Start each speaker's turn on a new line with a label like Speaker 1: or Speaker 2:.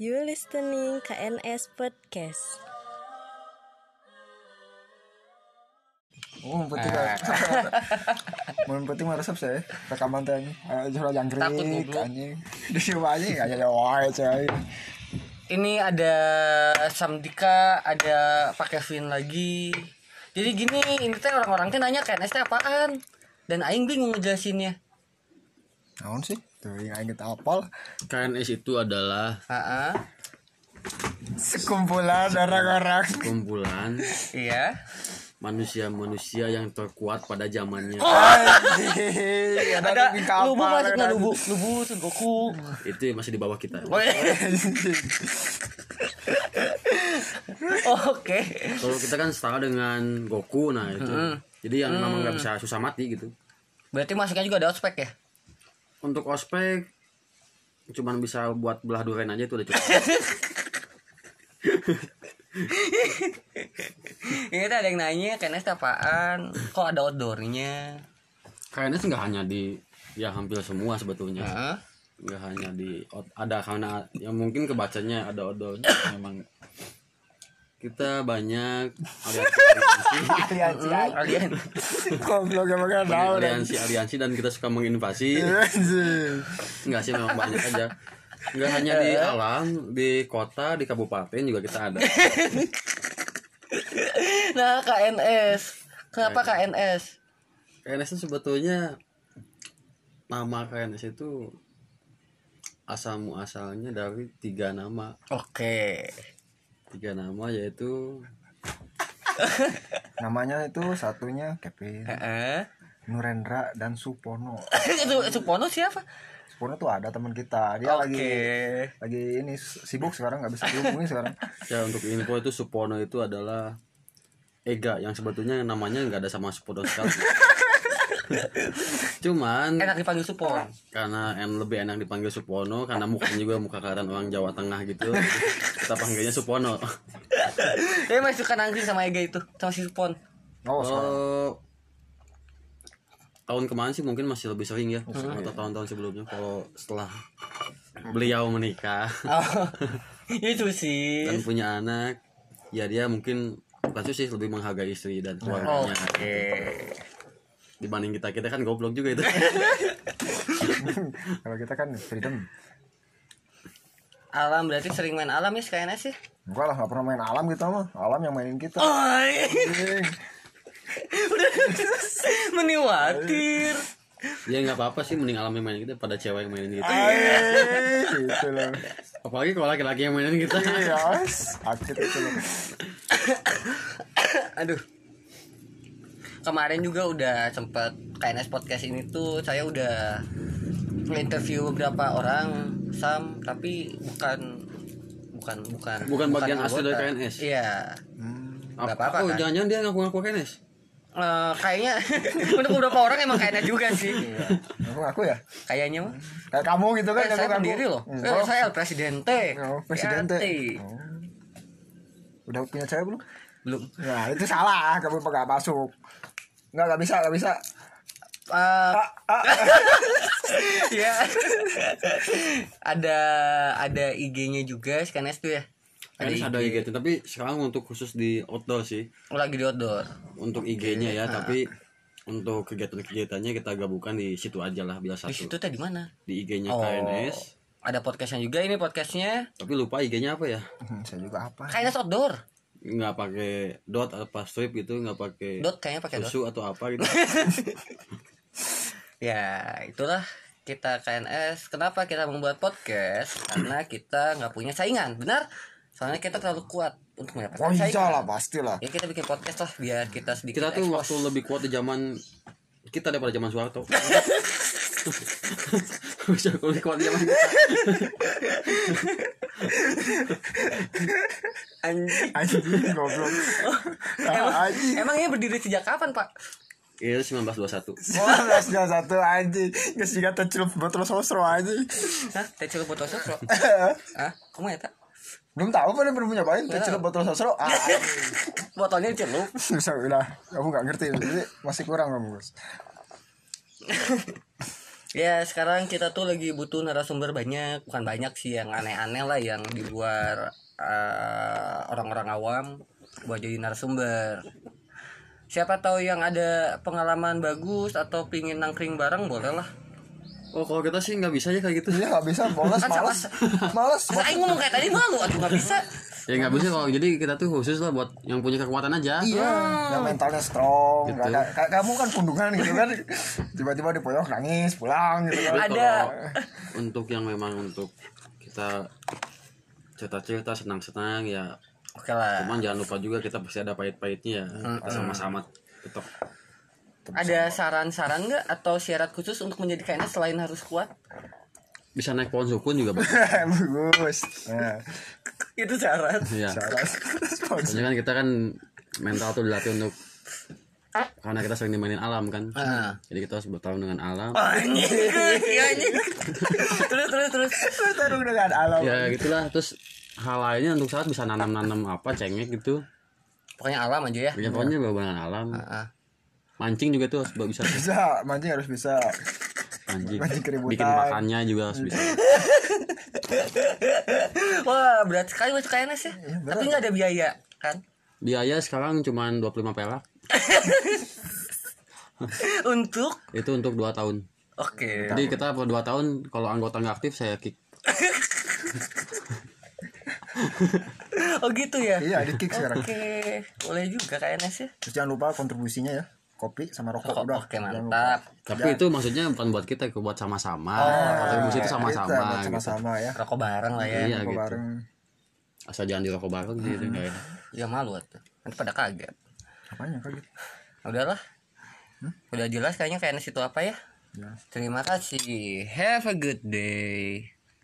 Speaker 1: You listening KNS Podcast.
Speaker 2: Oh, penting
Speaker 3: Ah.
Speaker 2: Mun penting mah resep sih. Rekaman teh eh, jual jangkrik
Speaker 3: Takut goblok.
Speaker 2: anjing. Di sini aja enggak ada wae coy.
Speaker 3: Ini ada Samdika, ada Pak Kevin lagi. Jadi gini, ini teh orang-orang teh nanya KNS teh apaan? Dan aing bingung ngejelasinnya.
Speaker 2: Naon sih? Tuh yang aing kita apal
Speaker 4: KNS itu adalah
Speaker 3: Heeh.
Speaker 2: sekumpulan orang-orang.
Speaker 4: kumpulan
Speaker 3: Iya.
Speaker 4: manusia-manusia yang terkuat pada zamannya.
Speaker 2: Anjing,
Speaker 3: Ada
Speaker 2: di kapal,
Speaker 3: lubu maksudnya
Speaker 2: kan.
Speaker 3: lubu, lubu Sun Goku.
Speaker 4: Itu yang masih di bawah kita.
Speaker 3: Oke. Oke.
Speaker 4: Kalau kita kan setara dengan Goku, nah itu. Jadi yang memang nggak bisa susah mati gitu.
Speaker 3: Berarti masuknya juga ada ospek ya?
Speaker 4: Untuk ospek cuman bisa buat belah durian aja itu udah cukup.
Speaker 3: Ini teh ada yang nanya KNS teh apaan? Kok ada outdoornya?
Speaker 4: KNS nggak hanya di ya hampir semua sebetulnya.
Speaker 3: Heeh.
Speaker 4: Nggak hanya di out- ada karena yang mungkin kebacanya ada odol memang kita banyak aliansi
Speaker 2: Aliansi
Speaker 3: Alien.
Speaker 2: goblok ya, emang enggak tahu deh.
Speaker 4: aliansi aliansi dan kita suka menginvasi
Speaker 2: Anjing.
Speaker 4: Enggak sih memang banyak aja. Enggak hanya di alam, di kota, di kabupaten juga kita ada.
Speaker 3: Nah, KNS. Kenapa KNS?
Speaker 4: KNS itu sebetulnya nama KNS itu asal muasalnya dari tiga nama.
Speaker 3: Oke.
Speaker 4: Tiga nama yaitu
Speaker 2: Namanya itu satunya Kevin,
Speaker 3: Heeh.
Speaker 2: Nurendra dan Supono.
Speaker 3: itu Supono siapa?
Speaker 2: Supono tuh ada teman kita. Dia lagi
Speaker 3: Oke.
Speaker 2: lagi ini sibuk sekarang nggak bisa dihubungi sekarang.
Speaker 4: ya untuk info itu Supono itu adalah Ega yang sebetulnya namanya nggak ada sama Supono sekali. Cuman
Speaker 3: Enak Eh, dipanggil Supono.
Speaker 4: karena en lebih enak dipanggil Supono karena mukanya juga muka kelihatan orang Jawa Tengah gitu kita panggilnya Supono
Speaker 3: Dia masih suka nangkring sama Ega itu, sama si Supon.
Speaker 2: Oh, sekarang.
Speaker 4: kalau Eh, tahun kemarin sih mungkin masih lebih sering ya atau tahun-tahun sebelumnya kalau setelah beliau menikah
Speaker 3: Oh. itu sih.
Speaker 4: dan punya anak ya dia mungkin bukan sih lebih menghargai istri dan keluarganya
Speaker 3: Oke.
Speaker 4: dibanding kita kita kan goblok juga itu
Speaker 2: Kalau kita kan freedom.
Speaker 3: Alam berarti sering main alam ya si KNS sih.
Speaker 2: Enggak lah, nggak pernah main alam gitu mah. Alam yang mainin kita.
Speaker 3: Oi. Oh.
Speaker 2: Anjing.
Speaker 3: Meniwatir.
Speaker 4: ya nggak apa-apa sih mending alam yang mainin kita pada cewek yang mainin
Speaker 2: Ah.
Speaker 4: kita
Speaker 2: Eh, gitu loh.
Speaker 4: apalagi kalau laki-laki yang mainin kita
Speaker 2: Iya, sakit itu loh.
Speaker 3: Aduh. Kemarin juga udah sempat KNS podcast ini tuh saya udah interview beberapa orang Sam tapi bukan bukan bukan
Speaker 4: Bukan bagian asli dari
Speaker 3: anggota.
Speaker 4: KNS?
Speaker 3: Iya. Nggak apa-apa
Speaker 4: oh
Speaker 3: kan?
Speaker 4: jangan-jangan dia ngaku-ngaku KNS
Speaker 3: Eh, kayaknya untuk beberapa orang emang KNS juga sih.
Speaker 2: Aku ngaku ya?
Speaker 3: Kayaknya mah.
Speaker 2: Kayak kamu gitu kan?
Speaker 3: Eh, saya
Speaker 2: ngaku-ngaku.
Speaker 3: pendiri loh. Eh,
Speaker 2: Enggak.
Speaker 3: saya El Presidente.
Speaker 2: Oh, presidente.
Speaker 3: Yati.
Speaker 2: Oh. Udah punya cewek belum?
Speaker 3: Belum.
Speaker 2: Nah, itu salah. Kamu nggak masuk. Enggak, nggak bisa, nggak bisa. Ah,
Speaker 3: Eh, ya. ada ada IG-nya juga si KNS tuh ya.
Speaker 4: KNS ada IG tuh, tapi sekarang untuk khusus di outdoor sih
Speaker 3: Oh, lagi di outdoor.
Speaker 4: untuk IG-nya ya, tapi untuk kegiatan-kegiatannya kita gabungkan di situ aja lah
Speaker 3: Di
Speaker 4: biasa
Speaker 3: situ Oh. tadi mana?
Speaker 4: di IG-nya KNS.
Speaker 3: Ada podcastnya juga ini podcastnya
Speaker 4: Tapi lupa IG-nya apa ya?
Speaker 2: Hmm, saya juga apa?
Speaker 3: KNS outdoor.
Speaker 4: Nggak pakai dot apa strip gitu, nggak pakai
Speaker 3: Dot kayaknya pakai dot.
Speaker 4: susu atau apa gitu.
Speaker 3: Ya itulah kita KNS. Kenapa kita membuat podcast? Karena kita nggak punya saingan, benar? Soalnya kita terlalu kuat untuk mendapatkan
Speaker 2: Oh iya
Speaker 3: saingan.
Speaker 2: lah, pasti lah.
Speaker 3: Ya kita bikin podcast lah biar kita sedikit.
Speaker 4: kita tuh
Speaker 3: ekspos.
Speaker 4: waktu lebih kuat di zaman kita daripada zaman Soeharto. Bisa lebih kuat di zaman kita.
Speaker 3: Anjing.
Speaker 2: Anjing, goblok.
Speaker 3: Emang,
Speaker 2: Ah, Anjing.
Speaker 3: emang ini berdiri sejak kapan Pak?
Speaker 4: Iya 1921.
Speaker 2: 1921 anjing Nggak sih kata celup buat terus sosro anjing
Speaker 3: Hah? Teh celup botol sosro? Hah? Kamu ya tak?
Speaker 2: Belum tahu pada belum nyobain teh celup buat terus sosro Ah,
Speaker 3: Botolnya celup.
Speaker 2: Susah udah Kamu nggak ngerti Jadi masih kurang kamu Gus
Speaker 3: Ya sekarang kita tuh lagi butuh narasumber banyak Bukan banyak sih yang aneh-aneh lah Yang di luar eh, orang-orang awam Buat jadi narasumber Siapa tahu yang ada pengalaman bagus Atau pingin nangkring bareng boleh lah
Speaker 4: Oh kalau kita sih nggak bisa ya kayak gitu
Speaker 2: Iya nggak bisa, bolos,
Speaker 3: Kan
Speaker 2: males, males.
Speaker 3: Masa Aing ngomong kayak tadi malu Aduh gak bisa
Speaker 4: Ya nggak bisa kalau jadi kita tuh khusus lah buat yang punya kekuatan aja
Speaker 2: Iya, yang mentalnya strong.
Speaker 4: Gitu.
Speaker 2: nggak ada- kayak kamu kan kundungan gitu kan, tiba-tiba di pojok nangis pulang gitu kan.
Speaker 3: Ada
Speaker 4: Untuk yang memang untuk kita cerita-cerita senang-senang ya
Speaker 3: Oke lah
Speaker 4: Cuman jangan lupa juga kita pasti ada pahit-pahitnya ya Sama-sama tetap
Speaker 3: Ada saran-saran nggak Atau syarat khusus untuk menjadi KNS selain harus kuat
Speaker 4: bisa naik pohon sukun juga bagus.
Speaker 2: Bagus. Nah,
Speaker 3: Itu syarat
Speaker 4: Iya
Speaker 2: saran.
Speaker 4: Soalnya kan kita kan mental tuh dilatih untuk karena kita sering dimainin alam kan
Speaker 3: Ah.
Speaker 4: jadi kita harus bertarung dengan alam
Speaker 3: Anjing Iya, anjing. Terus terus terus
Speaker 2: Bertarung dengan alam.
Speaker 4: ya gitulah terus hal lainnya untuk saat bisa nanam-nanam apa cengek gitu
Speaker 3: Pokoknya alam aja ya
Speaker 4: ya pokoknya berhubungan dengan alam
Speaker 3: Ah.
Speaker 4: mancing juga tuh harus bisa
Speaker 2: Bisa, mancing harus bisa.
Speaker 4: mancing
Speaker 2: Mancing keributan.
Speaker 4: bikin makannya juga harus bisa
Speaker 3: Wah berat sekali masuk KNS ya Tapi nggak ada biaya kan
Speaker 4: biaya sekarang cuman 25 perak
Speaker 3: Untuk
Speaker 4: itu untuk 2 tahun
Speaker 3: Oke
Speaker 4: jadi kita per 2 tahun kalau anggota nggak aktif saya kick
Speaker 3: Oh gitu ya
Speaker 2: Iya, di kick sekarang.
Speaker 3: Oke Boleh juga KNS ya
Speaker 2: Terus jangan lupa kontribusinya ya. Kopi sama rokok
Speaker 3: Oke,
Speaker 2: udah.
Speaker 3: Oke
Speaker 2: Jangan lupa.
Speaker 3: mantap
Speaker 4: tapi itu maksudnya bukan buat kita buat sama-sama kontribusi itu
Speaker 2: Kita
Speaker 4: sama-sama
Speaker 2: buat
Speaker 4: gitu.
Speaker 2: sama-sama ya.
Speaker 3: Rokok bareng lah ya
Speaker 4: iya
Speaker 2: Rokok
Speaker 4: gitu
Speaker 2: bareng.
Speaker 4: asal jangan di rokok bareng gitu kayak
Speaker 3: Ya malu atuh. Nanti pada kaget
Speaker 2: Apanya kayak gitu?
Speaker 3: Udahlah Udah jelas kayaknya KNS itu apa ya
Speaker 2: Hmm? Jelas.
Speaker 3: Terima kasih Have a good day